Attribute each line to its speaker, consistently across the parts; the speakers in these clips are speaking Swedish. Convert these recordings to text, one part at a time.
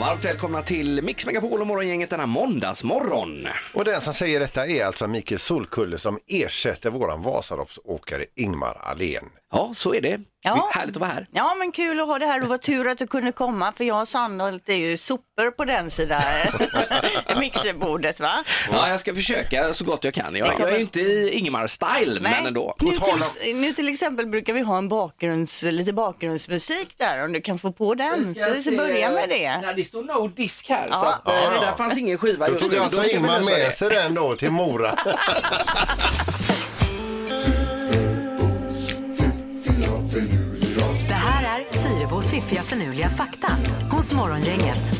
Speaker 1: varmt välkomna till Mix Megapol och Morgongänget denna måndagsmorgon.
Speaker 2: Och den som säger detta är alltså Mikael Solkulle som ersätter våran Vasaloppsåkare Ingmar Ahlén.
Speaker 1: Ja, så är det.
Speaker 3: Ja.
Speaker 1: Härligt att vara här.
Speaker 3: Ja men kul att ha det här och vad tur att du kunde komma för jag och sannolikt är ju sopor på den sidan mixerbordet va?
Speaker 1: Ja, jag ska försöka så gott jag kan. Jag, jag är ju inte i Ingemar-style, men ändå.
Speaker 3: Nu,
Speaker 2: Och tala-
Speaker 3: till, nu till exempel brukar vi ha en bakgrunds, lite bakgrundsmusik där om du kan få på den. Så vi ska börja med det.
Speaker 1: Ja, det står no disk här,
Speaker 3: Ja.
Speaker 1: så att, eh,
Speaker 2: Ja, ja.
Speaker 1: där fanns ingen skiva
Speaker 2: Då
Speaker 1: just
Speaker 2: tog
Speaker 1: nu.
Speaker 2: alltså
Speaker 1: ska vi
Speaker 2: Ingmar
Speaker 1: lösa
Speaker 2: med
Speaker 1: det.
Speaker 2: sig den då till Mora.
Speaker 4: Det här är Fyrabos fiffiga förnuliga fakta hos Morgongänget.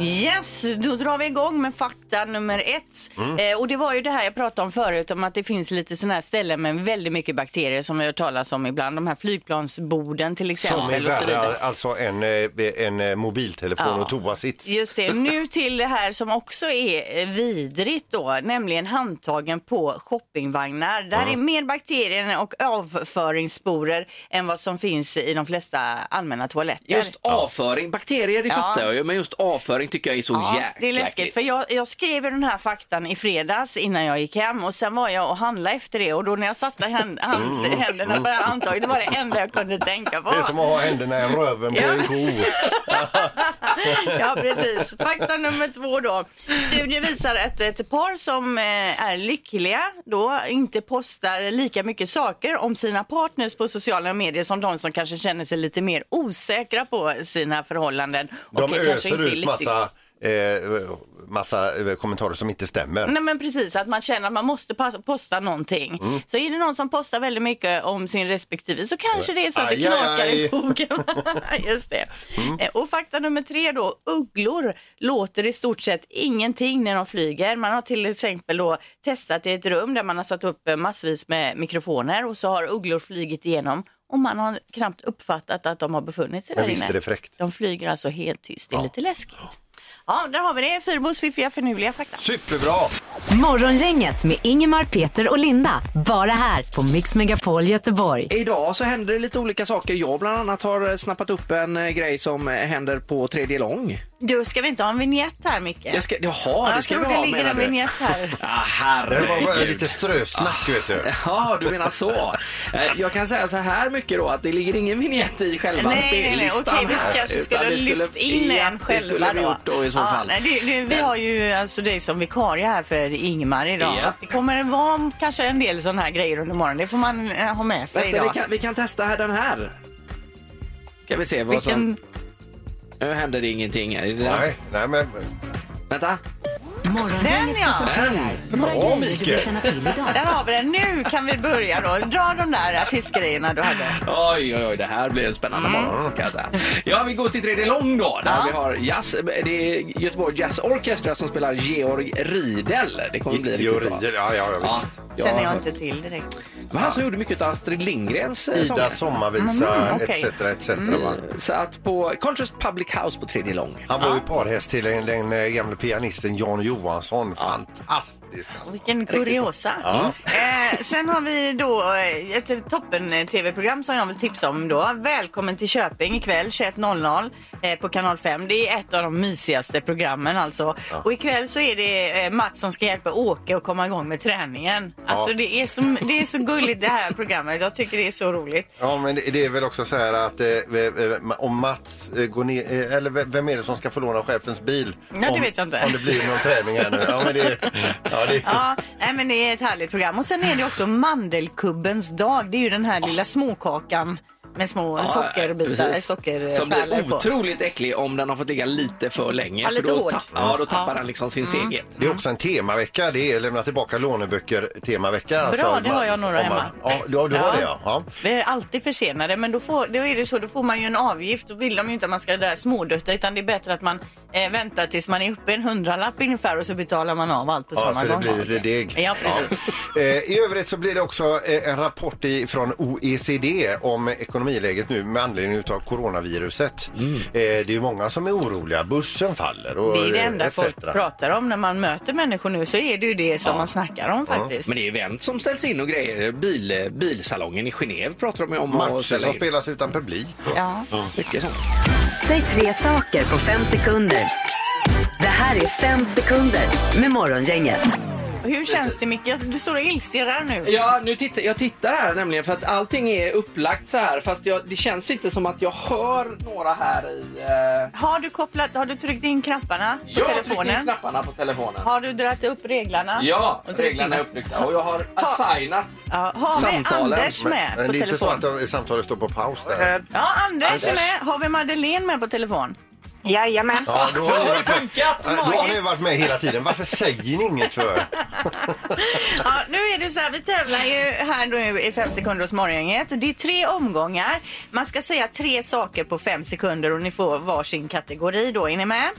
Speaker 3: Yes, då drar vi igång med fakta nummer ett. Eh, och det var ju det här jag pratade om förut om att det finns lite sådana här ställen med väldigt mycket bakterier som vi har hört talas om ibland. De här flygplansborden till
Speaker 2: Som är
Speaker 3: exempel och
Speaker 2: värre
Speaker 3: så vidare.
Speaker 2: alltså en, en eh, mobiltelefon
Speaker 3: Ja.
Speaker 2: och toasits.
Speaker 3: Just det. Nu till det här som också är eh, vidrigt då, nämligen handtagen på shoppingvagnar. Där är mer bakterier och avföringssporer än vad som finns i de flesta allmänna toaletter.
Speaker 1: Just avföring, bakterier det
Speaker 3: Ja.
Speaker 1: fattar jag ju, men just avföring tycker jag är så
Speaker 3: Ja,
Speaker 1: jäkla
Speaker 3: det är läskigt.
Speaker 1: äckligt.
Speaker 3: För jag, jag skrev ju den här faktan i fredags innan jag gick hem och sen var jag och handlade efter det och då när jag satte hand, hand, händerna på det här handtaget, det var det enda jag kunde tänka på.
Speaker 2: Mm. Det är som att ha händerna i röven på
Speaker 3: Ja.
Speaker 2: en ko.
Speaker 3: Ja, precis. Fakta nummer två då. Studier visar att ett par som eh, är lyckliga då inte postar lika mycket saker om sina partners på sociala medier som de som kanske känner sig lite mer osäkra på sina förhållanden.
Speaker 2: De
Speaker 3: kanske
Speaker 2: öser
Speaker 3: inte är
Speaker 2: ut
Speaker 3: lyckligt-
Speaker 2: massa, eh, massa eh, kommentarer som inte stämmer.
Speaker 3: Nej men precis, att man känner att man måste pas- posta någonting.
Speaker 2: Mm.
Speaker 3: Så är det någon som postar väldigt mycket om sin respektive så kanske det är så att det
Speaker 2: Aj, aj,
Speaker 3: knakar
Speaker 2: aj. Mm.
Speaker 3: i fogen. Just det. Eh, Och fakta nummer tre då, ugglor låter i stort sett ingenting när de flyger. Man har till exempel då testat i ett rum där man har satt upp eh, massvis med mikrofoner och så har ugglor flygit igenom och man har knappt uppfattat att de har befunnit sig
Speaker 2: Men
Speaker 3: där
Speaker 2: visst
Speaker 3: inne.
Speaker 2: är det fräckt.
Speaker 3: De flyger alltså helt tyst, det är lite läskigt. Ja, där har vi det. Fyrbos fiffiga förnuliga fakta.
Speaker 2: Superbra!
Speaker 4: Morgongänget med Ingemar, Peter och Linda. Bara här på Mix Megapol Göteborg.
Speaker 1: Idag så händer det lite olika saker. Jag bland annat har eh, snappat upp en eh, grej som eh, händer på tredje lång.
Speaker 3: Du, ska vi inte ha en vignett här Micke?
Speaker 1: Jag ska, jaha,
Speaker 3: Ja,
Speaker 1: det
Speaker 3: jag
Speaker 1: ska
Speaker 3: tror
Speaker 1: vi
Speaker 3: det
Speaker 1: ha
Speaker 3: ligger
Speaker 1: menar
Speaker 3: en
Speaker 1: du?
Speaker 3: vignett här.
Speaker 1: Ja,
Speaker 2: Det var bara
Speaker 1: herregud.
Speaker 2: lite strösnack
Speaker 3: Ah.
Speaker 2: vet du.
Speaker 1: Ja, du menar så. Eh, Jag kan säga så här mycket då att det ligger ingen vignett i själva
Speaker 3: nej, nej, nej.
Speaker 1: spellistan.
Speaker 3: Okej, vi
Speaker 1: här,
Speaker 3: kanske
Speaker 1: utan
Speaker 3: skulle ha
Speaker 1: det
Speaker 3: lyft in
Speaker 1: ja,
Speaker 3: en själva
Speaker 1: Det skulle vi
Speaker 3: då.
Speaker 1: gjort då i så
Speaker 3: Ja,
Speaker 1: fall.
Speaker 3: nej, du, du, vi har ju alltså dig som vikarie här för Ingmar idag.
Speaker 1: Ja.
Speaker 3: Det kommer vara kanske en del sådana här grejer under morgonen. Det får man eh, ha med sig
Speaker 1: Vänta, vi,
Speaker 3: idag.
Speaker 1: kan, vi kan testa här den här. Ska vi se vad
Speaker 3: Vilken...
Speaker 1: som... Nu händer det ingenting här. Är det där?
Speaker 2: Nej, nej men
Speaker 1: Vänta.
Speaker 3: Den,
Speaker 4: Morgongänget
Speaker 3: ja.
Speaker 4: presenterar
Speaker 2: Bra,
Speaker 4: några grejer du bör
Speaker 2: Micke.
Speaker 4: känna till idag.
Speaker 3: Där har vi den. Nu kan vi börja då. Dra de där artistgrejerna du hade.
Speaker 1: Oj, oj, oj, det här blir en spännande
Speaker 3: Mm.
Speaker 1: morgon kan jag säga. Ja, vi går till tredje lång då. Där vi har jazz, det är Göteborg Jazz Orchestra som spelar Georg Riedel. Det kommer bli riktigt bra.
Speaker 2: Georgier, ja, ja visst.
Speaker 1: ja.
Speaker 3: Känner jag inte till direkt.
Speaker 1: Men han som gjorde mycket av Astrid Lindgrens eh, sånger.
Speaker 2: Ida sommarvisa
Speaker 3: Mm, okej.
Speaker 2: etc. etc.
Speaker 3: Mm.
Speaker 2: va?
Speaker 1: Så att på Conscious Public House på tredje lång.
Speaker 2: Han var ju parhäst till den, den eh, gamle pianisten Jan Johansson. Fantastisk! alltså.
Speaker 3: Vilken kuriosa. Eh, sen har vi då eh, ett toppen-tv-program som jag vill tipsa om då. Välkommen till Köping ikväll 21.00 eh, på kanal 5. Det är ett av de mysigaste programmen alltså. Och ikväll så är det eh, Mats som ska hjälpa Åke att komma igång med träningen. Alltså
Speaker 2: Ja.
Speaker 3: det, är så, det är så gulligt det här programmet. Jag tycker det är så roligt.
Speaker 2: Ja, men det det är väl också så här att eh, eh, om Mats eh, går ner, eh, eller ve- vem är det som ska få låna chefens bil?
Speaker 3: Nej,
Speaker 2: om,
Speaker 3: det vet jag inte.
Speaker 2: Om det blir någon träning här nu. Ja, men det, ja, det,
Speaker 3: Ja, nej, men det är ett härligt program. Och sen är det också mandelkubbens dag. Det är ju den här lilla småkakan med små sockerbitar,
Speaker 1: precis.
Speaker 3: sockerpärlor
Speaker 1: Som blir
Speaker 3: på.
Speaker 1: otroligt äcklig om den har fått ligga lite för länge.
Speaker 3: Ja,
Speaker 1: för
Speaker 3: lite
Speaker 1: då,
Speaker 3: hårt.
Speaker 1: tapp- ja, då tappar
Speaker 3: Ja. Mm.
Speaker 1: den liksom sin seghet.
Speaker 2: det är också en temavecka. Det är lämna tillbaka låneböcker temavecka. alltså,
Speaker 3: Bra, det har jag några
Speaker 2: om man-
Speaker 3: hemma.
Speaker 2: Ja, du har du har
Speaker 3: Ja.
Speaker 2: det ja. ja.
Speaker 3: Vi är alltid försenade men då, får, då är det så, då får man ju en avgift. Då vill de ju inte att man ska där smådutta utan det är bättre att man eh, vänta tills man är uppe i en hundralapp ungefär och så betalar man av allt på
Speaker 2: Ja,
Speaker 3: samma
Speaker 2: så det
Speaker 3: gång.
Speaker 2: blir lite deg.
Speaker 3: Ja, precis.
Speaker 2: Eh, I övrigt så blir det också eh, en rapport i, från OECD om ekonomiläget nu med anledning utav coronaviruset. Eh, Det är ju många som är oroliga. Börsen faller och
Speaker 3: Det är det
Speaker 2: eh,
Speaker 3: enda
Speaker 2: etc.
Speaker 3: folk pratar om när man möter människor nu så är det ju det som man snackar om faktiskt.
Speaker 1: Men det är event som ställs in och grejer. Bil, bilsalongen i Genève pratar de ju om. att
Speaker 2: Matcher
Speaker 1: ställa
Speaker 2: som
Speaker 1: in.
Speaker 2: spelas utan publik.
Speaker 3: Ja.
Speaker 1: Mycket sånt.
Speaker 4: Säg tre saker på fem sekunder. Det här är fem sekunder med Morgongänget.
Speaker 3: Hur känns det Micke? Alltså, Du står och illstirrar nu.
Speaker 1: Ja, nu tittar, jag tittar här nämligen för att allting är upplagt så här fast jag, det känns inte som att jag hör några här i... Eh,
Speaker 3: Har du kopplat, har du tryckt in knapparna på
Speaker 1: jag
Speaker 3: telefonen?
Speaker 1: trycker in knapparna på telefonen.
Speaker 3: Har du dragit upp reglarna?
Speaker 1: Ja,
Speaker 3: Och tryckt
Speaker 1: reglerna är
Speaker 3: in-
Speaker 1: upptryckta och jag har assignat
Speaker 3: Ja, har vi
Speaker 1: samtalen. eh,
Speaker 3: Anders med
Speaker 2: Men
Speaker 3: på
Speaker 2: eh, det är inte så
Speaker 3: telefon?
Speaker 2: att de- samtalet står på paus där.
Speaker 3: Ja, Anders,
Speaker 1: Anders.
Speaker 3: är med. Har vi Madeleine med på telefon?
Speaker 5: Jajamän.
Speaker 2: Ja, då
Speaker 1: Då har
Speaker 2: ni
Speaker 1: det
Speaker 2: varit med-
Speaker 1: funkat!
Speaker 2: Ja, Då har ni varit med hela tiden. Varför säger ni inget för?
Speaker 3: Ja, nu är det så här, vi tävlar ju här nu i fem sekunder hos Morgongänget. Det är tre omgångar. Man ska säga tre saker på fem sekunder och ni får varsin kategori då. Är ni med?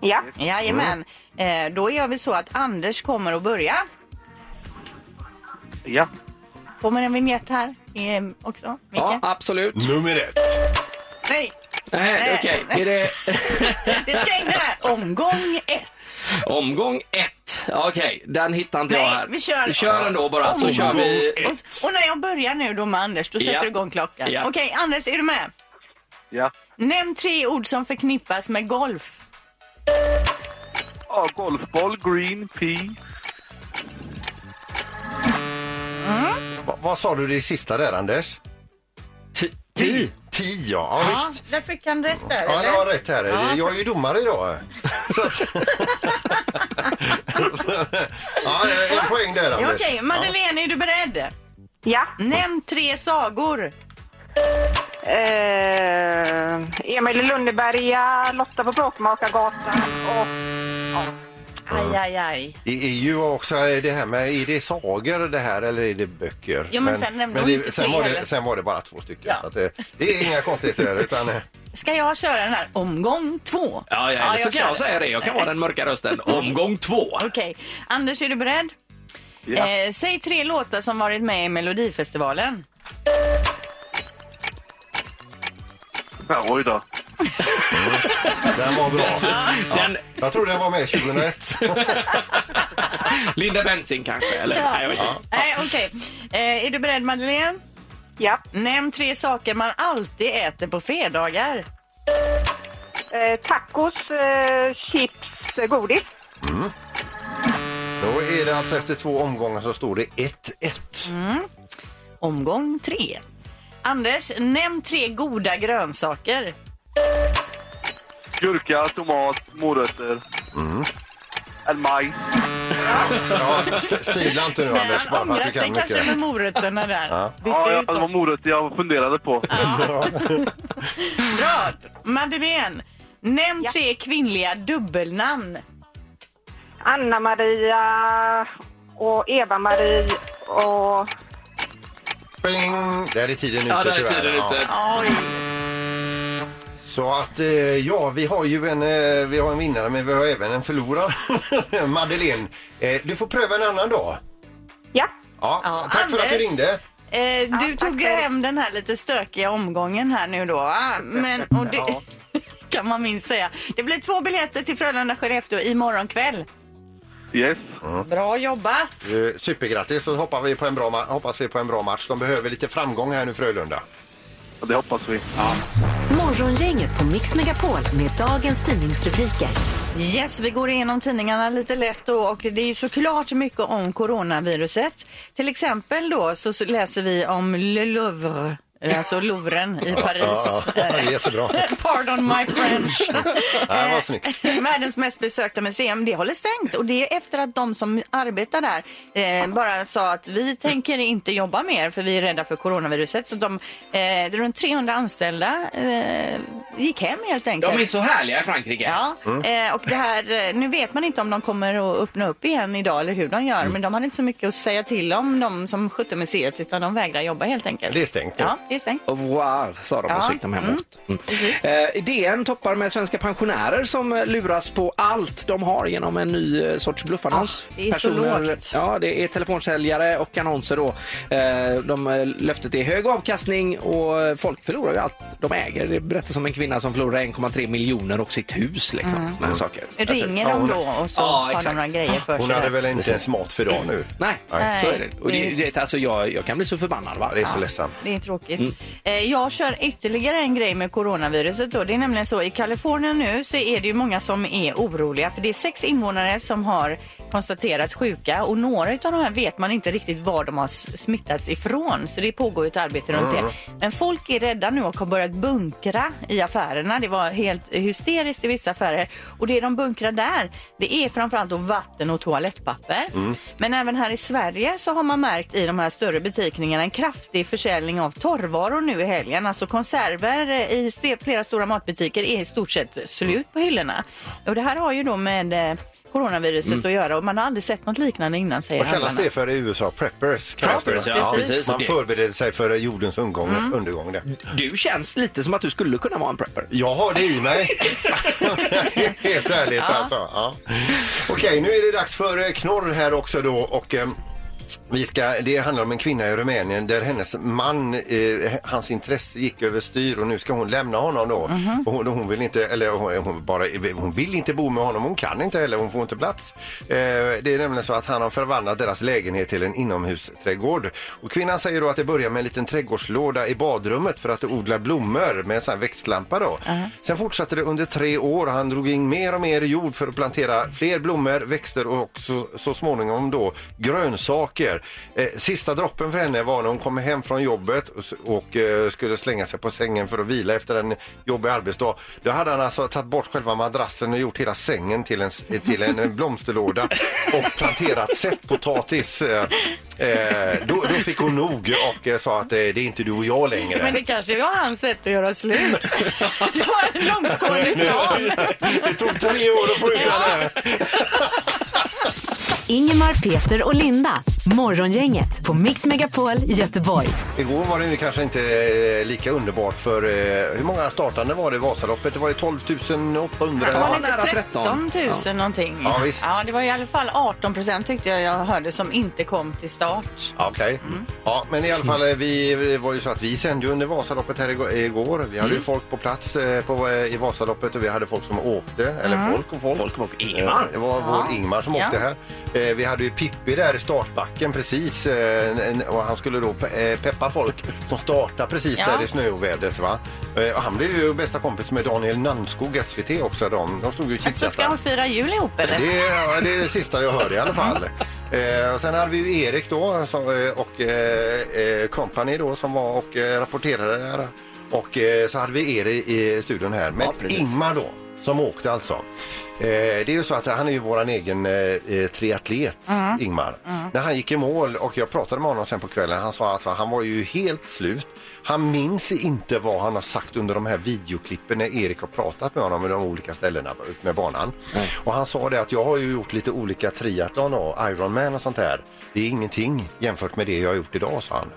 Speaker 5: Ja.
Speaker 3: Jajamän. Eh, då gör vi så att Anders kommer att börja.
Speaker 6: Ja.
Speaker 3: Kommer en vignett här eh, också? Micke?
Speaker 1: Ja, absolut.
Speaker 2: Nummer ett.
Speaker 3: Nej,
Speaker 1: Nej, okej. Är det
Speaker 3: det ska in där. Omgång ett.
Speaker 1: omgång ett? Okej, den hittar inte jag
Speaker 3: Nej,
Speaker 1: här.
Speaker 3: vi kör.
Speaker 1: Vi kör ändå bara så
Speaker 3: Omgång
Speaker 1: kör vi...
Speaker 3: Och, och när jag börjar nu då med Anders, då sätter
Speaker 1: Ja.
Speaker 3: du igång klockan.
Speaker 1: Ja.
Speaker 3: Okej, Anders, är du med?
Speaker 6: Ja.
Speaker 3: Nämn tre ord som förknippas med golf.
Speaker 6: ja golfboll, green, pea.
Speaker 2: Va- Vad sa du det sista där, Anders?
Speaker 1: Ti- Ti?
Speaker 2: Tio, ja, ja visst.
Speaker 3: Ja, därför kan rätt där,
Speaker 2: Ja,
Speaker 3: eller?
Speaker 2: jag har rätt här.
Speaker 3: Ja.
Speaker 2: Jag är ju domare idag. Så att... ja, det är en poäng där,
Speaker 3: Ja,
Speaker 2: Anders.
Speaker 3: Okej, Madeleine, är du beredd?
Speaker 5: Ja.
Speaker 3: Nämn tre sagor.
Speaker 5: Eh, Emil i Lönneberga, Lotta på Bråkmakargatan och...
Speaker 3: Aj, aj, aj.
Speaker 2: Det är ju också det här med, är det sagor det här eller är det böcker?
Speaker 3: Jo, men sen nämnde hon inte
Speaker 2: sen
Speaker 3: fler,
Speaker 2: var
Speaker 3: eller?
Speaker 2: det, sen var det bara två stycken.
Speaker 3: Ja.
Speaker 2: Så att det, det är inga konstigheter utan eh,
Speaker 3: Ska jag köra den här omgång två?
Speaker 1: Ja, ja, så kan
Speaker 3: kör
Speaker 1: jag
Speaker 3: den.
Speaker 1: säga det. Jag kan vara den mörka rösten. Omgång två.
Speaker 3: Okej, Anders, är du beredd?
Speaker 6: Ja.
Speaker 3: Eh, säg tre låtar som varit med i Melodifestivalen.
Speaker 6: Ja, oj då.
Speaker 2: den var bra.
Speaker 1: Den,
Speaker 2: Jag tror den var med 2001.
Speaker 1: Linda Bengtzing kanske? Eller?
Speaker 3: Ja.
Speaker 1: Nej, jag vet inte.
Speaker 3: Nej, okej. Eh, är du beredd, Madeleine?
Speaker 5: Ja.
Speaker 3: Nämn tre saker man alltid äter på fredagar.
Speaker 5: Eh, tacos, eh, chips, eh, godis.
Speaker 2: Då är det alltså efter två omgångar så står det 1-1.
Speaker 3: Mm. Omgång tre. Anders, nämn tre goda grönsaker.
Speaker 6: Gurka, tomat, morötter.
Speaker 7: Mm.
Speaker 6: En majs.
Speaker 2: Ja, st- stila inte nu Anders, bara för att du kan mycket.
Speaker 3: med morötterna där. Det
Speaker 6: Ja,
Speaker 3: är
Speaker 6: ja,
Speaker 3: ut
Speaker 6: det var
Speaker 3: dem.
Speaker 6: morötter jag funderade på.
Speaker 3: Bra! Madeleine, nämn
Speaker 5: Ja.
Speaker 3: tre kvinnliga dubbelnamn.
Speaker 5: Anna-Maria och Eva-Marie och...
Speaker 2: Bing! Där är tiden ute
Speaker 1: Ja, där är
Speaker 2: tyvärr.
Speaker 1: tiden
Speaker 2: Ja.
Speaker 1: ute.
Speaker 3: Oj.
Speaker 2: Så att eh, ja, vi har ju en, eh, vi har en vinnare men vi har även en förlorare. Madeleine, eh, du får pröva en annan dag.
Speaker 5: Ja.
Speaker 2: Ja,
Speaker 3: Ja,
Speaker 2: tack för att du
Speaker 3: Anders.
Speaker 2: ringde.
Speaker 3: Eh, du
Speaker 5: tack
Speaker 3: tog ju
Speaker 5: för-
Speaker 3: hem den här lite stökiga omgången här nu då. va? Men, och det,
Speaker 6: Ja.
Speaker 3: kan man minst säga. Det blir två biljetter till Frölunda-Skellefteå imorgon kväll.
Speaker 6: Yes.
Speaker 3: Bra jobbat!
Speaker 2: Eh, Supergrattis och hoppas vi, på en bra ma- hoppas vi på en bra match. De behöver lite framgång här nu Frölunda.
Speaker 6: Ja, Det hoppas vi.
Speaker 4: Morgongänget på Mix Megapol med dagens tidningsrubriker.
Speaker 3: Yes, vi går igenom tidningarna lite lätt då, och det är ju såklart mycket om coronaviruset. Till exempel då så så läser vi om Le Louvre, alltså Louvren i Paris.
Speaker 2: Ja, det är jättebra.
Speaker 3: Pardon my French. Eh,
Speaker 2: Ja, vad snyggt.
Speaker 3: Världens mest besökta museum, det håller stängt och det är efter att de som arbetar där eh, bara sa att vi tänker inte jobba mer för vi är rädda för coronaviruset. Så de, eh, runt 300 anställda eh, gick hem helt enkelt.
Speaker 1: De är så härliga i Frankrike.
Speaker 3: Ja,
Speaker 2: Mm.
Speaker 3: eh, och det här, eh, nu vet man inte om de kommer att öppna upp igen idag eller hur de gör,
Speaker 2: Mm.
Speaker 3: men de hade inte så mycket att säga till om, de som skötte museet, utan de vägrar jobba helt enkelt.
Speaker 2: Det är stängt nu.
Speaker 3: Ja, det Det är stängt.
Speaker 1: Au revoir, sa de och
Speaker 3: Ja.
Speaker 1: så gick de hemåt. Mm. Eh, DN toppar med svenska pensionärer som eh, luras på allt de har genom en ny eh, sorts bluffannons.
Speaker 3: Ah, det är så lågt.
Speaker 1: Ja, det är telefonsäljare och annonser då. Eh, de, eh, löftet är hög avkastning och eh, folk förlorar ju allt de äger. Det berättas om en kvinna som förlorar 1,3 miljoner och sitt hus liksom. Såna här saker.
Speaker 3: Mm.
Speaker 2: Ja,
Speaker 3: Ringer de
Speaker 2: hon-
Speaker 3: då och så
Speaker 1: Ja,
Speaker 3: har de
Speaker 1: exakt.
Speaker 3: några grejer för sig?
Speaker 2: Hon hade
Speaker 3: där?
Speaker 2: väl inte ens mat för dagen nu?
Speaker 1: Nej,
Speaker 2: Nej.
Speaker 1: så är det. Och det, det alltså, jag, jag kan bli så förbannad. Va?
Speaker 2: Ja, det är så ledsamt.
Speaker 3: Det är tråkigt.
Speaker 1: Mm.
Speaker 3: Eh, Jag kör ytterligare en grej med coronaviruset. Då. Det är nämligen så i Kalifornien nu så är det ju många som är oroliga för det är sex invånare som har konstaterats sjuka och några av de här vet man inte riktigt var de har s- smittats ifrån. Så det pågår ju ett arbete runt
Speaker 2: Mm.
Speaker 3: det. Men folk är rädda nu och har börjat bunkra i affärerna. Det var helt hysteriskt i vissa affärer och det de bunkrar där det är framförallt då vatten och toalettpapper.
Speaker 2: Mm.
Speaker 3: Men även här i Sverige så har man märkt i de här större butikerna en kraftig försäljning av torrvaror nu i helgen. Alltså konserver i ste- flera stora matbutiker är i stort sett slut på hyllorna. Och det här har ju då med eh, coronaviruset att göra och man har aldrig sett något liknande innan säger
Speaker 2: Mm. Vad kallas det för i USA? Preppers? kallas det,
Speaker 1: Preppers,
Speaker 2: va?
Speaker 1: ja,
Speaker 3: Precis. precis.
Speaker 2: Man
Speaker 1: Det-
Speaker 2: förbereder sig för jordens ungång, undergång. Där.
Speaker 1: Du känns lite som att du skulle kunna vara en prepper.
Speaker 2: Jag har det i mig. Helt ärligt alltså. Ja. Okej, nu är det dags för eh, knorr här också då. Och, ehm, vi ska, det handlar om en kvinna i Rumänien där hennes man, eh, hans intresse gick överstyr och nu ska hon lämna honom då. Och hon, hon vill inte, eller hon, hon, bara, hon vill inte bo med honom, hon kan inte heller, hon får inte plats. Eh, det är nämligen så att han har förvandlat deras lägenhet till en inomhusträdgård. Och kvinnan säger då att det börjar med en liten trädgårdslåda i badrummet för att odla blommor med en sån här växtlampa då. Sen fortsatte det under tre år och han drog in mer och mer jord för att plantera fler blommor, växter och så, så småningom då grönsaker. Eh, sista droppen för henne var när hon kom hem från jobbet och, s- och eh, skulle slänga sig på sängen för att vila efter en jobbig arbetsdag. Då hade han alltså tagit bort själva madrassen och gjort hela sängen till en, s- till en eh, blomsterlåda och planterat sättpotatis. Eh, eh, då, då fick hon nog och eh, sa att eh, det är inte du och jag längre.
Speaker 3: Men det kanske var hans sätt att göra slut. Det var en långtgående plan.
Speaker 2: Det tog tre år att få ut henne.
Speaker 4: Ingemar, Peter och Linda. Morgongänget på Mix Megapol Göteborg.
Speaker 2: Igår var det ju kanske inte eh, lika underbart för eh, hur många startande var det i Vasaloppet? Det var ju 12 800
Speaker 1: Ja,
Speaker 2: eller
Speaker 3: Var det
Speaker 2: något.
Speaker 1: nära
Speaker 3: inte
Speaker 1: 13
Speaker 3: 13 000
Speaker 1: Ja.
Speaker 3: någonting?
Speaker 2: Ja, visst.
Speaker 3: det var i alla fall 18 procent tyckte jag jag hörde som inte kom till start.
Speaker 2: Ja, Okej.
Speaker 3: Mm.
Speaker 2: Ja, men i alla fall, eh, vi det var ju så att vi sände ju under Vasaloppet här igår- igår. Vi hade ju
Speaker 3: Mm.
Speaker 2: folk på plats eh, på, eh, i Vasaloppet och vi hade folk som åkte, eller
Speaker 3: Mm.
Speaker 2: folk och folk.
Speaker 1: Folk och Ingmar.
Speaker 2: Eh, Det var vår Ingmar som
Speaker 3: Ja.
Speaker 2: åkte här. Eh, Vi hade ju Pippi där i startbacken precis eh, n- n- och han skulle då pe- eh, peppa folk som startar precis
Speaker 3: Ja.
Speaker 2: där i snöovädret. Va? Eh, och Han blev ju bästa kompis med Daniel Nanskog, SVT också. De, de stod ju och
Speaker 3: Så ska
Speaker 2: kikade.
Speaker 3: de fira jul ihop eller?
Speaker 2: Det är, ja, det är det sista jag hörde i alla fall. Eh, och sen hade vi ju Erik då som, eh, och eh, eh, company då som var och eh, rapporterade det här. Och eh, så hade vi er i, i studion här. Men
Speaker 1: Ja, precis.
Speaker 2: Ingmar då, som åkte alltså. Eh, det är ju så att han är ju våran egen eh, eh, triatlet, Ingmar. När han gick i mål och jag pratade med honom sen på kvällen, han sa alltså han var ju helt slut. Han minns inte vad han har sagt under de här videoklippen när Erik har pratat med honom i de olika ställena med banan. Och han sa det att jag har ju gjort lite olika triathlon och Ironman och sånt där. Det är ingenting jämfört med det jag har gjort idag, sa han.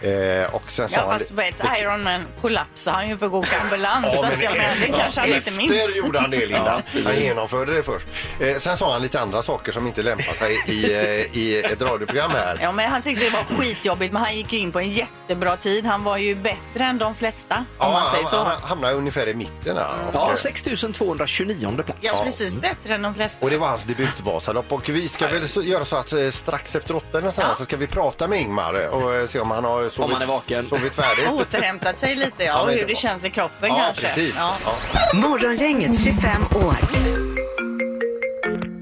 Speaker 2: Eh, och sen sa
Speaker 3: Ja,
Speaker 2: han
Speaker 3: fast på ett Ironman kollapsade han ju för att gå åka ambulans. så att jag menar, det kanske han inte minns.
Speaker 2: Efter gjorde han det, Linda. Han genomförde det först. Eh, sen sa han lite andra saker som inte lämpar sig i, eh, i ett radioprogram här.
Speaker 3: Ja, men han tyckte det var skitjobbigt, men han gick ju in på en jättebra tid. Han var ju bättre än de flesta, om man säger så.
Speaker 2: han, han hamnade ungefär i mitten. Här, och,
Speaker 1: Ja, 6229 plats.
Speaker 3: ja, precis. Bättre än de flesta.
Speaker 2: och det var hans debutvasalopp. Och vi ska väl så, göra så att eh, strax efter åtta eller så, här,
Speaker 3: Ja.
Speaker 2: så ska vi prata med Ingmar eh, och eh, se om han har sovit,
Speaker 1: han är vaken.
Speaker 2: sovit färdigt.
Speaker 3: Återhämtat sig lite, ja.
Speaker 2: Ja,
Speaker 3: Och
Speaker 2: men
Speaker 3: hur
Speaker 2: det
Speaker 3: det
Speaker 2: var-
Speaker 3: känns i kroppen
Speaker 2: Ja,
Speaker 3: kanske.
Speaker 2: precis.
Speaker 3: Ja.
Speaker 2: Ja.
Speaker 4: Morgongänget 25 år.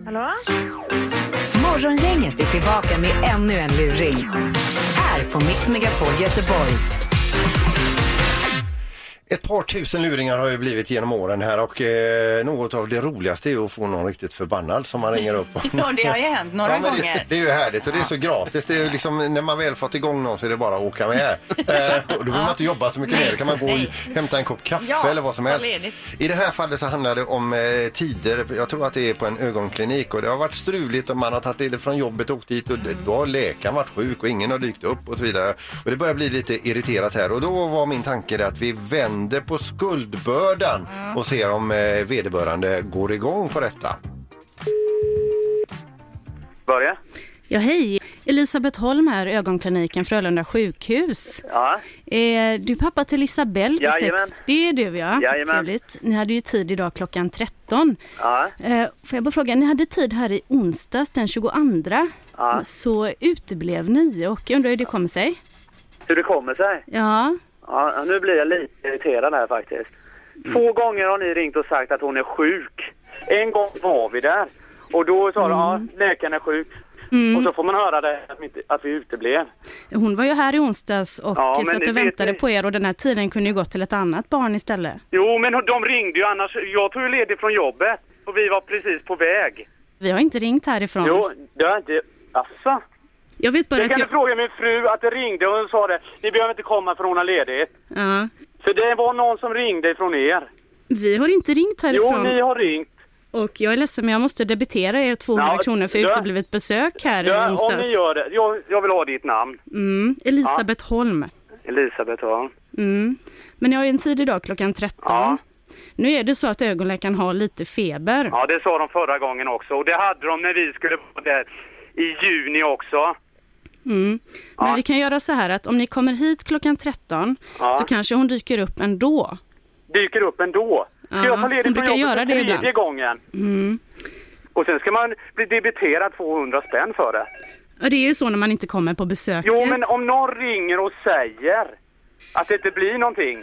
Speaker 5: Hallå?
Speaker 4: Morgongänget är tillbaka med ännu en luring. Här på Mix Megapol Göteborg.
Speaker 2: Ett par tusen luringar har ju blivit genom åren här och eh, något av det roligaste är ju att få någon riktigt förbannad som man ringer upp.
Speaker 3: Ja, det har ju hänt några
Speaker 2: Ja, men
Speaker 3: gånger.
Speaker 2: Det, det är ju härligt och det är så gratis. Det är ju liksom, när man väl fått igång någon så är det bara att åka med. eh, och då behöver man inte jobba så mycket mer. Då kan man gå och hämta en kopp kaffe
Speaker 3: Ja,
Speaker 2: eller vad som
Speaker 3: ta
Speaker 2: helst.
Speaker 3: ledigt.
Speaker 2: I det här fallet så handlar det om eh, tider. Jag tror att det är på en ögonklinik och det har varit struligt och man har tagit ledigt från jobbet och åkt dit och
Speaker 3: Mm.
Speaker 2: då har läkaren varit sjuk och ingen har dykt upp och så vidare. Och det börjar bli lite irriterat här och då var min tanke det att vi vänder på skuldbördan och ser om eh, vederbörande går igång på detta.
Speaker 6: Börja.
Speaker 8: Ja, hej. Elisabeth Holm här, ögonkliniken Frölunda sjukhus.
Speaker 6: Ja.
Speaker 8: Eh, du är pappa till Isabelle till sex.
Speaker 6: Jajamän.
Speaker 8: Det är du ja.
Speaker 6: Jajamän.
Speaker 8: Trevligt. Ni hade ju tid idag klockan 13.
Speaker 6: Ja.
Speaker 8: Eh, får jag bara fråga, ni hade tid här i onsdags den 22.
Speaker 6: Ja.
Speaker 8: Så uteblev ni och jag undrar hur det kommer sig?
Speaker 6: Hur det kommer sig?
Speaker 8: Ja,
Speaker 6: Ja, nu blir jag lite irriterad här faktiskt.
Speaker 8: Mm.
Speaker 6: Två gånger har ni ringt och sagt att hon är sjuk. En gång var vi där och då sa de
Speaker 8: Mm.
Speaker 6: ja, läkaren är sjuk. Och så får man höra det att vi, inte, att vi uteblev.
Speaker 8: hon var ju här i onsdags och
Speaker 6: Ja, men
Speaker 8: satt
Speaker 6: det
Speaker 8: och
Speaker 6: vet
Speaker 8: väntade
Speaker 6: ni.
Speaker 8: på er och den här tiden kunde ju gått till ett annat barn istället.
Speaker 6: Jo, men de ringde ju annars. Jag tog ju ledigt från jobbet och vi var precis på väg.
Speaker 8: Vi har inte ringt härifrån.
Speaker 6: Jo, det har inte... Asså?
Speaker 8: Jag vet bara
Speaker 6: Det
Speaker 8: att
Speaker 6: kan
Speaker 8: jag...
Speaker 6: du fråga min fru att det ringde och hon sa det. Ni behöver inte komma för hon har ledigt.
Speaker 8: Ja.
Speaker 6: För det var någon som ringde ifrån er.
Speaker 8: Vi har inte ringt
Speaker 6: Jo,
Speaker 8: härifrån.
Speaker 6: ni har ringt.
Speaker 8: Och jag är ledsen men jag måste debitera er 200
Speaker 6: Ja,
Speaker 8: kronor för
Speaker 6: ja.
Speaker 8: uteblivet besök här i
Speaker 6: Ja, om
Speaker 8: onsdags.
Speaker 6: ni gör det. Jag, jag vill ha ditt namn.
Speaker 8: Mm, Elisabeth Holm.
Speaker 6: Elisabeth, ja.
Speaker 8: Mm. Men jag har ju en tid idag klockan 13.
Speaker 6: Ja.
Speaker 8: Nu är det så att ögonläkaren har lite feber.
Speaker 6: Ja, det sa de förra gången också. Och det hade de när vi skulle vara där i juni också.
Speaker 8: Mm. Men vi kan göra så här att om ni kommer hit klockan 13
Speaker 6: Ja.
Speaker 8: så kanske hon dyker upp ändå.
Speaker 6: Dyker upp ändå. Ska
Speaker 8: Ja,
Speaker 6: jag få ledigt från
Speaker 8: hon brukar
Speaker 6: jobbet
Speaker 8: göra
Speaker 6: för
Speaker 8: det
Speaker 6: tredje
Speaker 8: ibland.
Speaker 6: gången?
Speaker 8: Mm.
Speaker 6: Och sen ska man bli debiterad 200 spänn för det.
Speaker 8: Och det är ju så när man inte kommer på besöket.
Speaker 6: Jo, men om någon ringer och säger att det inte blir någonting.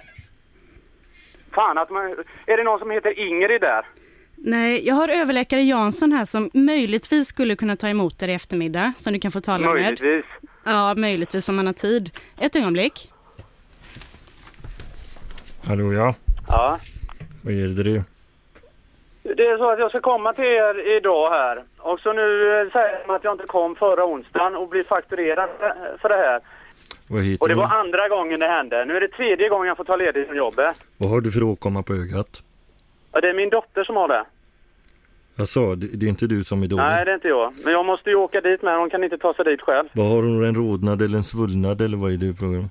Speaker 6: Fan att man... Är det någon som heter Ingrid där?
Speaker 8: Nej, jag har överläkare Jansson här som möjligtvis skulle kunna ta emot er i eftermiddag som du kan få tala med.
Speaker 6: Möjligtvis.
Speaker 8: Ja, möjligtvis om man har tid. Ett ögonblick.
Speaker 9: Hallå ja,
Speaker 6: Ja.
Speaker 9: vad gäller det?
Speaker 6: Det är så att jag ska komma till er idag här. Och så nu eh, säger de att jag inte kom förra onsdagen och blir fakturerad eh, för det här.
Speaker 9: Vad
Speaker 6: Och
Speaker 9: heter
Speaker 6: det
Speaker 9: du?
Speaker 6: var andra gången det hände. Nu är det tredje gången jag får ta ledigt från jobbet.
Speaker 9: Vad har du för åkomma på ögat?
Speaker 6: Ja, det är min dotter som har det.
Speaker 9: Jag sa, det, det är inte du som är dålig.
Speaker 6: Nej, det är inte jag. Men jag måste ju åka dit med Hon kan inte ta sig dit själv.
Speaker 9: Vad har hon, en rodnad eller en svullnad eller vad är det problem?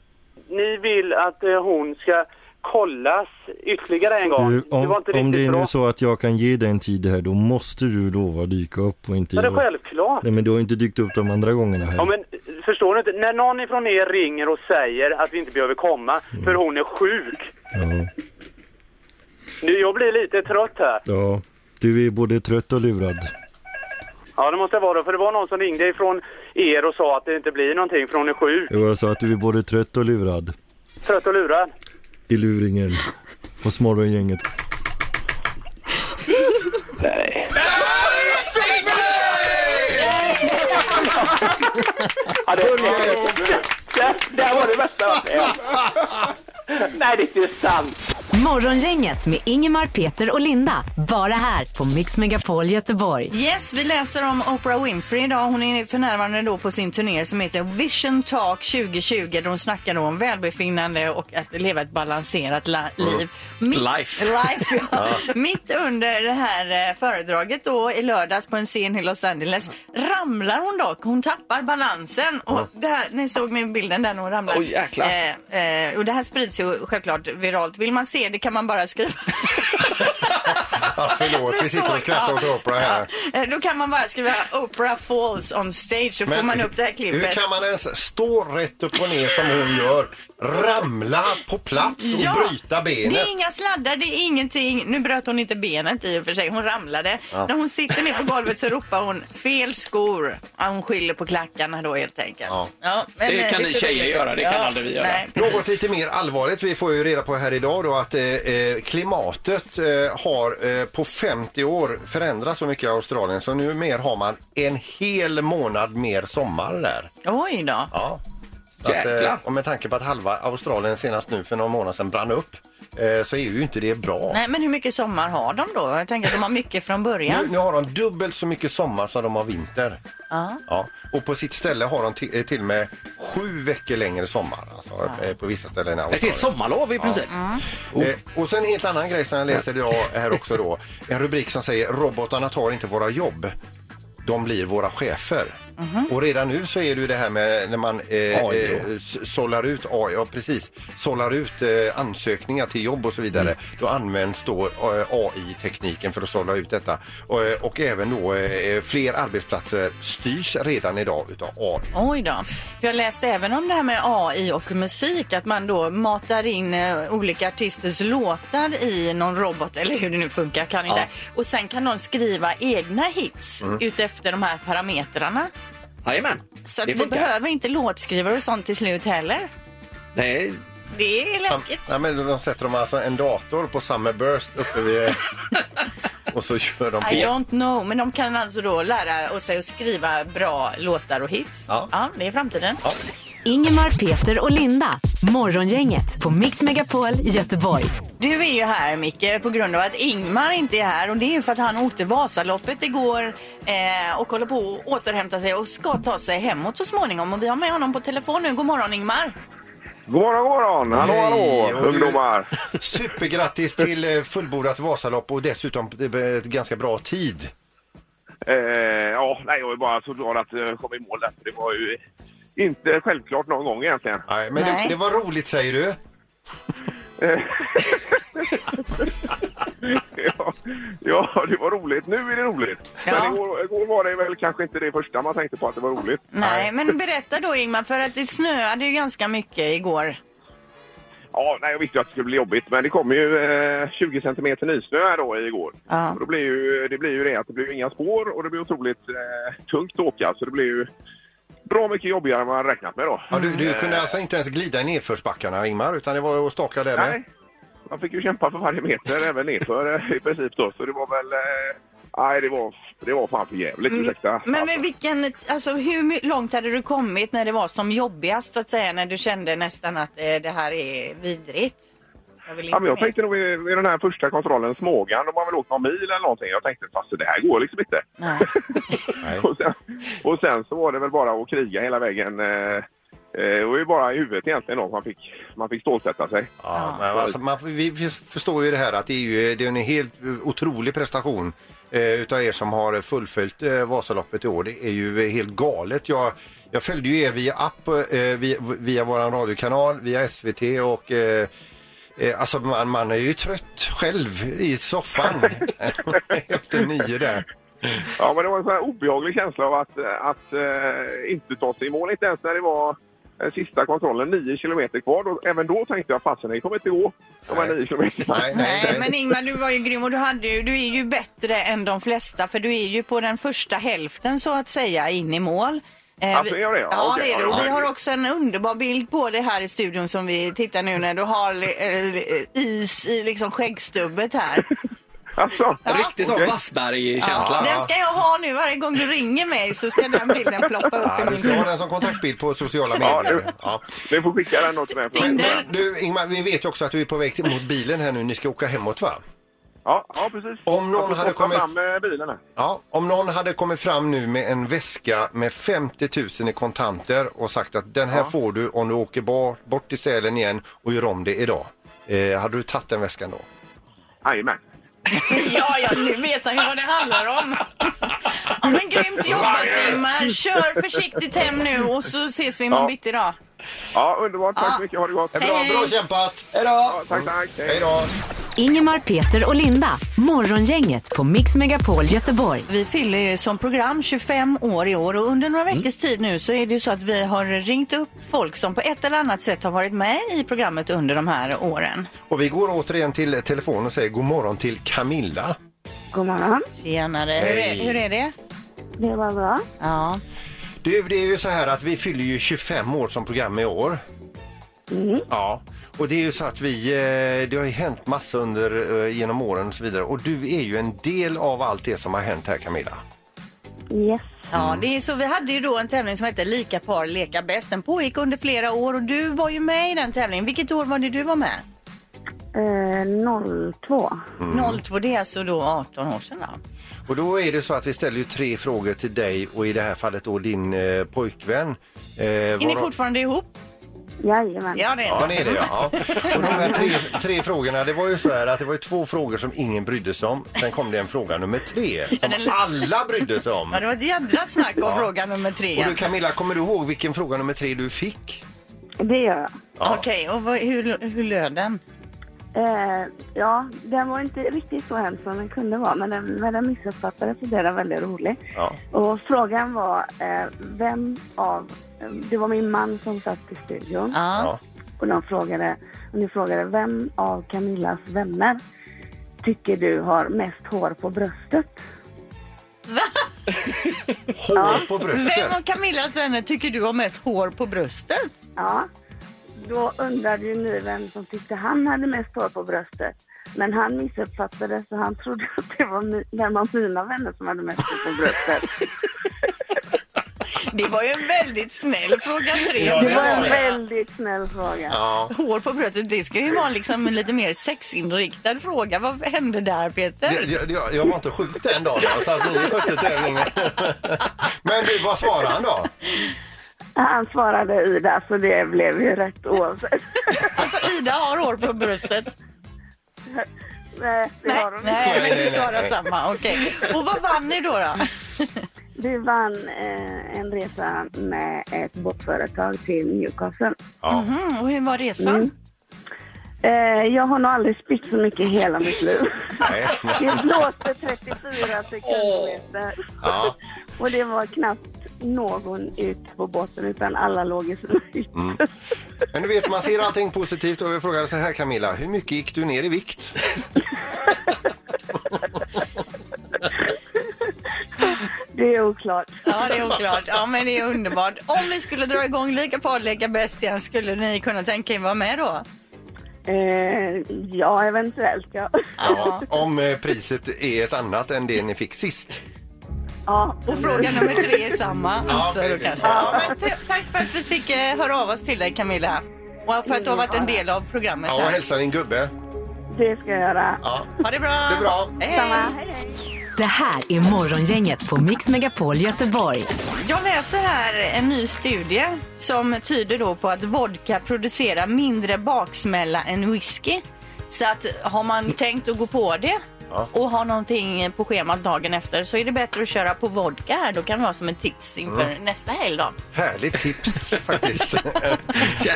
Speaker 6: Ni vill att eh, hon ska kollas ytterligare en gång.
Speaker 9: Du,
Speaker 6: det var
Speaker 9: om,
Speaker 6: inte
Speaker 9: om det
Speaker 6: riktigt
Speaker 9: är
Speaker 6: bra.
Speaker 9: nu så att jag kan ge dig en tid här, då måste du lova dyka upp och inte...
Speaker 6: Men det är
Speaker 9: göra-
Speaker 6: självklart.
Speaker 9: Nej men du har ju inte dykt upp de andra gångerna här.
Speaker 6: Ja, men förstår du inte? När någon ifrån er ringer och säger att vi inte behöver komma för hon är sjuk.
Speaker 9: Mm. ja,
Speaker 6: Nu, jag blir lite trött här.
Speaker 9: ja. Du är både trött och lurad.
Speaker 6: Ja, det måste vara det. För det var någon som ringde ifrån er och sa att det inte blir någonting för hon är sjuk.
Speaker 9: Det var så att du är både trött och lurad.
Speaker 6: Trött och lurad.
Speaker 9: I luringen. Hos morgongänget.
Speaker 6: Ja, det, det, det var det bästa jag varit med om. Nej, det är inte sant.
Speaker 4: Morgongänget med Ingemar, Peter och Linda. Bara här på Mix Megapol Göteborg.
Speaker 3: Yes, vi läser om Oprah Winfrey idag. Hon är för närvarande då på sin turné som heter Vision Talk 2020 där hon snackar då om välbefinnande och att leva ett balanserat la- liv. Mitt,
Speaker 1: Life.
Speaker 3: life ja. Mitt under det här eh, föredraget då i lördags på en scen i Los Angeles ramlar hon dock. Hon tappar balansen. Och det här, ni såg min bilden där när hon ramlar.
Speaker 1: Oj, jäklar.
Speaker 3: Eh, eh, och det här sprids ju självklart viralt. Vill man se det kan man bara skriva
Speaker 2: Ja, förlåt, vi sitter och skrattar åt Oprah här.
Speaker 3: Eh, Då kan man bara skriva Oprah Falls on stage så får man upp det här klippet.
Speaker 2: hur kan man ens stå rätt upp och ner som hon gör, ramla på plats och bryta
Speaker 3: Det
Speaker 2: benet?
Speaker 3: är inga sladdar, det är ingenting. Nu bröt hon inte benet i och för sig, hon ramlade. När hon sitter ner på golvet så ropar hon fel skor. Ja, hon skyller på klackarna då helt enkelt.
Speaker 2: Ja.
Speaker 3: men,
Speaker 1: Det
Speaker 3: eh,
Speaker 1: kan ni
Speaker 3: ser
Speaker 1: tjejer
Speaker 3: roligt ut.
Speaker 1: göra, det kan aldrig vi göra.
Speaker 3: Nej.
Speaker 2: Något lite mer allvarligt. Vi får ju reda på här idag då att eh, eh, klimatet eh, har eh, på 50 år förändrats så mycket i Australien så nu mer har man en hel månad mer sommar där.
Speaker 3: Oj då.
Speaker 2: Ja. Så Att, eh,
Speaker 1: Jäklar.
Speaker 2: och med tanke på att halva Australien senast nu för några månader sedan brann upp eh, så är ju inte det bra.
Speaker 3: Nej, men hur mycket sommar har de då? Jag tänker att de har mycket från
Speaker 2: Nu,
Speaker 3: början.
Speaker 2: nu har de dubbelt så mycket sommar som de har vinter.
Speaker 3: Ja.
Speaker 2: Ja. Och på sitt ställe har de ti- eh, till och med sju veckor längre sommar. Alltså, eh, På vissa ställen. i
Speaker 1: Ett helt
Speaker 2: Australien.
Speaker 1: sommarlov i princip.
Speaker 3: Mm.
Speaker 2: Oh. Eh, och sen en helt annan grej som jag läser idag här också då. En rubrik som säger robotarna tar inte våra jobb. De blir våra chefer. Och redan nu så är det ju det här med när man eh,
Speaker 1: AI
Speaker 2: eh, s- sållar ut AI, ja precis, sållar ut eh, ansökningar till jobb och så vidare. Då används då eh, AI-tekniken för att sålla ut detta. Och, eh, och även då eh, fler arbetsplatser styrs redan idag utav AI.
Speaker 3: Oj då. För jag läste även om det här med AI och musik, att man då matar in eh, olika artisters låtar i någon robot, eller hur det nu funkar, kan inte. Och sen kan någon skriva egna hits utefter de här parametrarna.
Speaker 1: Jajamän.
Speaker 3: Så att
Speaker 1: Det
Speaker 3: vi
Speaker 1: funkar.
Speaker 3: behöver inte låtskrivare och sånt till slut heller.
Speaker 1: Nej,
Speaker 3: Det är läskigt.
Speaker 2: Ja, men de sätter de alltså en dator på Summerburst uppe vid... och så kör de
Speaker 3: I
Speaker 2: på.
Speaker 3: don't know, men de kan alltså då lära sig att skriva bra låtar och hits. Ja,
Speaker 2: Ja.
Speaker 3: det är framtiden.
Speaker 4: Ingemar, Peter och Linda. Morgongänget på Mix Megapol Göteborg.
Speaker 3: Du är ju här Micke på grund av att Ingmar inte är här och det är ju för att han åkte Vasaloppet igår eh, och håller på att återhämta sig och ska ta sig hemåt så småningom. Och vi har med honom på telefon nu. God morgon Ingmar!
Speaker 7: God morgon, god morgon. Hallå,
Speaker 2: Hej,
Speaker 7: hallå,
Speaker 2: och du-
Speaker 7: ungdomar.
Speaker 2: Supergrattis till eh, fullbordat Vasalopp och dessutom eh, ett ganska bra tid.
Speaker 7: Eh, ja, nej, jag är bara så glad att eh, jag kom i mål där. för Det var ju inte självklart någon gång egentligen.
Speaker 2: Nej, men
Speaker 3: Nej.
Speaker 2: Det, det var roligt säger du.
Speaker 7: Eh. ja, ja, det var roligt. Nu är det roligt.
Speaker 3: Ja.
Speaker 7: Men igår, igår var det väl kanske inte det första man tänkte på att det var roligt.
Speaker 3: Nej, men berätta då Ingmar för att det snöade ju ganska mycket igår.
Speaker 7: Ja, nej, jag visste ju att det skulle bli jobbigt, men det kom ju eh, 20 centimeter nysnö här då igår.
Speaker 3: Ja.
Speaker 7: Och då blir ju, det blir ju det att det blir inga spår och det blir otroligt eh, tungt att åka, så det blir ju bra mycket jobbigare än man räknat med då.
Speaker 2: Ja, du, du kunde alltså inte ens glida i nedförsbackarna Ingmar utan det var att staka där med.
Speaker 7: Nej, man fick ju kämpa för varje meter, även nerför eh, i princip då. Så det var väl... eh, Nej, det var, det var fan för jävligt, ursäkta.
Speaker 3: Mm, Men, men vilken, alltså hur my- långt hade du kommit när det var som jobbigast så att säga? När du kände nästan att eh, det här är vidrigt? Jag vill inte
Speaker 7: Ja, men jag
Speaker 3: mer.
Speaker 7: tänkte nog i, i den här första kontrollen, Smågan, de har väl åkt någon mil eller någonting. Jag tänkte fast det här går liksom inte.
Speaker 3: Nej.
Speaker 7: och, sen, och sen så var det väl bara att kriga hela vägen. eh, eh, Det var ju bara i huvudet egentligen då, man fick, man fick stålsätta sig.
Speaker 2: Ja, men alltså, man, vi vi förstår ju det här att det är, ju, det är en helt otrolig prestation eh, utav er som har fullföljt eh, Vasaloppet i år. Det är ju helt galet. Jag, jag följde ju er via app, eh, via, via vår radiokanal, via SVT och eh, eh, Alltså man, man är ju trött själv i soffan efter nio där.
Speaker 7: Ja, men det var en sån här obehaglig känsla av att, att eh, inte ta sig i mål. Inte ens när det var eh, sista kontrollen, nio kilometer kvar. Då, även då tänkte jag, fasen det kommer inte gå de här
Speaker 2: Nej.
Speaker 7: nio kilometerna.
Speaker 2: Nej,
Speaker 3: Nej,
Speaker 2: nej, nej.
Speaker 3: men Ingmar, du var ju grym och du, hade ju, du är ju bättre än de flesta för du är ju på den första hälften så att säga in i mål. Eh,
Speaker 7: Alltså,
Speaker 3: vi-
Speaker 7: är jag det? Ja,
Speaker 3: Ja,
Speaker 7: okej,
Speaker 3: det är du.
Speaker 7: ja,
Speaker 3: Och vi
Speaker 7: ja.
Speaker 3: har också en underbar bild på det här i studion som vi tittar nu när du har eh, is i liksom skäggstubbet här.
Speaker 7: Alltså,
Speaker 1: en riktig sån Wassberg-känsla.
Speaker 3: Den ska jag ha nu varje gång du ringer mig så ska den bilden ploppa upp
Speaker 2: Ja,
Speaker 3: i
Speaker 2: du
Speaker 3: min
Speaker 2: ska ha
Speaker 3: bild.
Speaker 2: den som kontaktbild på sociala
Speaker 7: Ja,
Speaker 2: medier.
Speaker 7: det-
Speaker 2: Ja.
Speaker 7: ni får skicka den då till mig.
Speaker 2: Men,
Speaker 7: Ja,
Speaker 2: men, du Ingmar, vi vet ju också att du är på väg till, mot bilen här nu. Ni ska åka hemåt va?
Speaker 7: ja, ja, precis.
Speaker 2: Om någon
Speaker 7: Jag får
Speaker 2: hade
Speaker 7: stoppa
Speaker 2: kommit-
Speaker 7: fram eh, bilen här.
Speaker 2: Ja, om någon hade kommit fram nu med en väska med 50 000 i kontanter och sagt att den här får du om du åker bort, bort till Sälen igen och gör om det idag. Eh, hade du tagit den väskan då?
Speaker 7: Jajamän.
Speaker 3: Ja, ja, nu vet han ju vad det handlar om. Ja, men grymt jobbat Ingmar. Kör försiktigt hem nu och så ses vi imorgon
Speaker 7: Ja.
Speaker 3: bitti då.
Speaker 7: Ja, underbart. Tack
Speaker 3: Ja.
Speaker 7: så mycket. Ha det gott.
Speaker 2: Bra,
Speaker 3: Hej, hej.
Speaker 2: bra kämpat!
Speaker 7: Ja, tack, tack. Hej.
Speaker 2: Hej då!
Speaker 4: Ingemar, Peter och Linda. Morgongänget på Mix Megapol Göteborg.
Speaker 3: Vi fyller ju som program 25 år i år och under några
Speaker 2: Mm.
Speaker 3: veckors tid nu så är det ju så att vi har ringt upp folk som på ett eller annat sätt har varit med i programmet under de här åren.
Speaker 2: Och vi går återigen till telefon och säger god morgon till Camilla.
Speaker 5: God morgon.
Speaker 3: Tjenare! Hur är,
Speaker 2: Hej.
Speaker 3: hur är det?
Speaker 5: Det var bra.
Speaker 3: Ja.
Speaker 2: Du, det är ju så här att vi fyller ju 25 år som program i år. Mm. Ja. Och det är ju så att vi, eh, det har ju hänt massa under, eh, genom åren och så vidare. Och du är ju en del av allt det som har hänt här Camilla.
Speaker 5: Yes.
Speaker 2: Mm.
Speaker 3: Ja, det är så. Vi hade ju då en tävling som hette Lika par leka bäst. Den pågick under flera år och du var ju med i den tävlingen. Vilket år var det du var med?
Speaker 5: Eh, 02.
Speaker 2: Mm.
Speaker 3: 02, det är alltså då 18 år sedan. Då.
Speaker 2: Och då är det så att vi ställer ju tre frågor till dig och i det här fallet då din eh, pojkvän. Eh,
Speaker 3: Är ni fortfarande ihop?
Speaker 5: Jajamän.
Speaker 3: Ja, det är
Speaker 2: Ja,
Speaker 3: ni.
Speaker 2: det är det ja. ja. Och de här tre, tre frågorna, det var ju så här att det var ju två frågor som ingen brydde sig om. Sen kom det en fråga nummer tre som alla brydde sig om.
Speaker 3: Ja, det var ett jädra snack om fråga nummer tre.
Speaker 2: Och du Camilla, kommer du ihåg vilken fråga nummer tre du fick?
Speaker 5: Det gör jag.
Speaker 2: Ja.
Speaker 3: Okej, och vad, hur, hur löd den?
Speaker 5: Eh, ja, den var inte riktigt så hemsk som den kunde vara, men den, men den missuppfattades så blev den väldigt rolig.
Speaker 2: Ja.
Speaker 5: Och frågan var, eh, vem av... eh, Det var min man som satt i studion
Speaker 3: Ja.
Speaker 2: Ja.
Speaker 5: och de frågade, och ni frågade vem av Camillas vänner tycker du har mest hår på bröstet?
Speaker 2: Hår på bröstet.
Speaker 3: Vem av Camillas vänner tycker du har mest hår på bröstet?
Speaker 5: Ja, då undrade ju ni vem som tyckte han hade mest hår på bröstet. Men han missuppfattade så han trodde att det var mi- vem av mina vänner som hade mest hår på bröstet.
Speaker 3: Det var ju en väldigt snäll fråga tre.
Speaker 2: Ja,
Speaker 5: Det var en
Speaker 2: det.
Speaker 5: väldigt snäll fråga.
Speaker 2: Ja.
Speaker 3: Hår på bröstet, det ska ju vara liksom en lite mer sexinriktad fråga. Vad hände där Peter?
Speaker 2: Det- Jag, jag, jag var inte sjuk den dagen, så att ni skötte tävlingen. Men du, vad svarade han då?
Speaker 5: Han svarade Ida, så det blev ju rätt oavsett.
Speaker 3: Alltså Ida har hår på bröstet.
Speaker 5: Nej, det
Speaker 3: Nej,
Speaker 5: har hon
Speaker 3: nej,
Speaker 5: inte.
Speaker 3: men du
Speaker 2: nej,
Speaker 3: svarar
Speaker 2: nej.
Speaker 3: samma. Okej. Och vad vann ni då? då?
Speaker 5: Vi vann eh, en resa med ett båtföretag till Newcastle.
Speaker 2: Ja.
Speaker 3: Mm, och hur var resan?
Speaker 5: Eh, jag har nog aldrig spytt så mycket i hela mitt liv.
Speaker 2: Nej.
Speaker 5: Det blåste 34 sekundmeter.
Speaker 2: Ja.
Speaker 5: Och det var knappt någon ut på båten utan alla låg i sina hytter.
Speaker 2: Mm. Men du vet, man ser allting positivt och jag frågar så här Camilla, hur mycket gick du ner i vikt?
Speaker 5: Det är oklart.
Speaker 3: Ja, det är oklart. Ja, men det är underbart. Om vi skulle dra igång lika farligt, lika bäst igen, skulle ni kunna tänka er vara med då?
Speaker 5: Eh, ja, eventuellt ja.
Speaker 3: Ja.
Speaker 2: Om eh, priset är ett annat än det ni fick sist.
Speaker 5: ja.
Speaker 3: Och fråga nummer tre är samma.
Speaker 2: Ja,
Speaker 3: Alltså, då
Speaker 2: precis.
Speaker 3: kanske. Ja, men t- tack för att vi fick eh, höra av oss till dig, Camilla. Och för att du har varit en del av programmet
Speaker 2: Ja, och
Speaker 3: här.
Speaker 2: hälsa din gubbe.
Speaker 5: Det ska jag göra.
Speaker 2: Ja.
Speaker 3: Ha det bra!
Speaker 2: Det är bra.
Speaker 3: Hej!
Speaker 5: Samma. Hej, hej.
Speaker 4: Det här är Morgongänget på Mix Megapol Göteborg.
Speaker 3: Jag läser här en ny studie som tyder då på att vodka producerar mindre baksmälla än whisky. Så att har man tänkt att gå på det
Speaker 2: Ja.
Speaker 3: och har någonting på schemat dagen efter så är det bättre att köra på vodka här. Då kan det vara som en tips inför
Speaker 2: Mm.
Speaker 3: nästa helg då.
Speaker 2: Härligt tips faktiskt.
Speaker 1: Ja.
Speaker 3: Det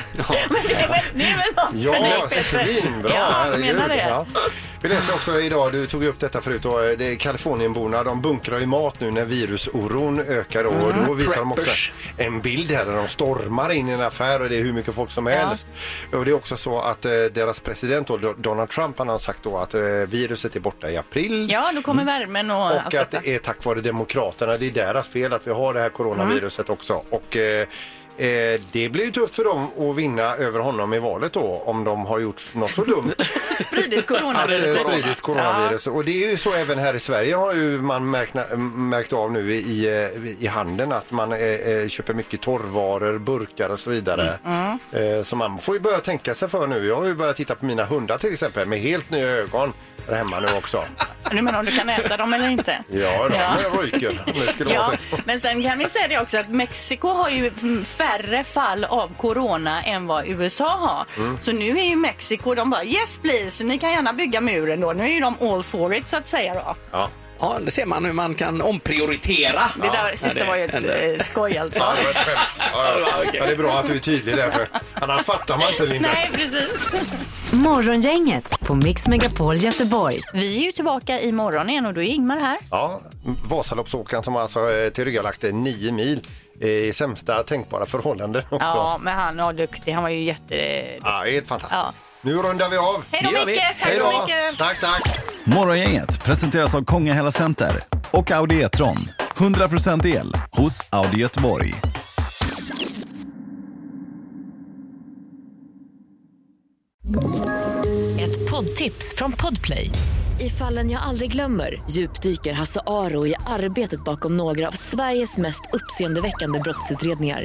Speaker 3: är väl, det är väl något för dig,
Speaker 2: Ja, alltså,
Speaker 3: Peter?
Speaker 2: svinbra!
Speaker 3: Alltså, Ja, jag
Speaker 2: herregud.
Speaker 3: menar det.
Speaker 2: Ja. Vi läser också idag, du tog upp detta förut, och eh, det är Kalifornienborna, de bunkrar ju mat nu när virusoron ökar och
Speaker 3: Mm.
Speaker 2: då visar de också
Speaker 1: Preppers.
Speaker 2: en bild här där de stormar in i en affär och det är hur mycket folk som helst. Och det är också så att eh, deras president då, Donald Trump, han har sagt då att eh, viruset är borta i april.
Speaker 3: Ja, då kommer värmen och, allt
Speaker 2: Mm. Och att
Speaker 3: detta.
Speaker 2: det är tack vare Demokraterna. Det är deras fel att vi har det här coronaviruset också. Och, eh, eh, det blir ju tufft för dem att vinna över honom i valet då om de har gjort något så dumt.
Speaker 3: spridit
Speaker 2: Att eh,
Speaker 3: coronaviruset.
Speaker 2: spridit coronavirus. Och det är ju så även här i Sverige har ju man märkt, märkt av nu i, eh, i handeln att man eh, eh, köper mycket torrvaror, burkar och så vidare.
Speaker 3: Mm.
Speaker 2: Eh, så man får ju börja tänka sig för nu. Jag har ju börjat titta på mina hundar till exempel med helt nya ögon där hemma nu också.
Speaker 3: Nu menar om du kan äta dem eller inte?
Speaker 2: Ja, då,
Speaker 3: Ja.
Speaker 2: men ryker. Om det skulle
Speaker 3: Ja,
Speaker 2: vara så.
Speaker 3: men sen kan vi säga det också att Mexiko har ju färre fall av corona än vad USA har.
Speaker 2: Mm.
Speaker 3: Så nu är ju Mexiko, de bara yes please, ni kan gärna bygga muren då. Nu är ju de all for it så att säga då.
Speaker 2: Ja.
Speaker 1: ja, där ser man hur man kan omprioritera.
Speaker 3: Det där sista var ju ett
Speaker 1: händer.
Speaker 3: eh, skoj alltså.
Speaker 2: Ja, det var ett skämt. Ja, ja. ja, det är bra att du är tydlig där, för annars fattar man inte, Linda.
Speaker 3: Nej, precis.
Speaker 4: Morgongänget på Mix Megapol Göteborg.
Speaker 3: Vi är ju tillbaka imorgon igen och då är Ingmar här.
Speaker 2: Ja, Vasaloppsåkaren som alltså eh, tillryggalagt eh, nio mil eh, i sämsta tänkbara förhållanden också.
Speaker 3: Ja, men han var duktig. Han var ju jätte...
Speaker 2: Ja, det är helt fantastiskt.
Speaker 3: Ja.
Speaker 2: Nu rundar vi av.
Speaker 3: Hej då
Speaker 1: Det gör vi.
Speaker 3: Micke! Tack
Speaker 2: Hej
Speaker 3: så
Speaker 2: då.
Speaker 3: mycket!
Speaker 2: Tack, tack!
Speaker 10: Morgongänget presenteras av Kongahälla Center och Audi E-tron. 100% el hos Audi Göteborg.
Speaker 4: Ett poddtips från Podplay. I fallen jag aldrig glömmer djupdyker Hasse Aro i arbetet bakom några av Sveriges mest uppseendeväckande brottsutredningar.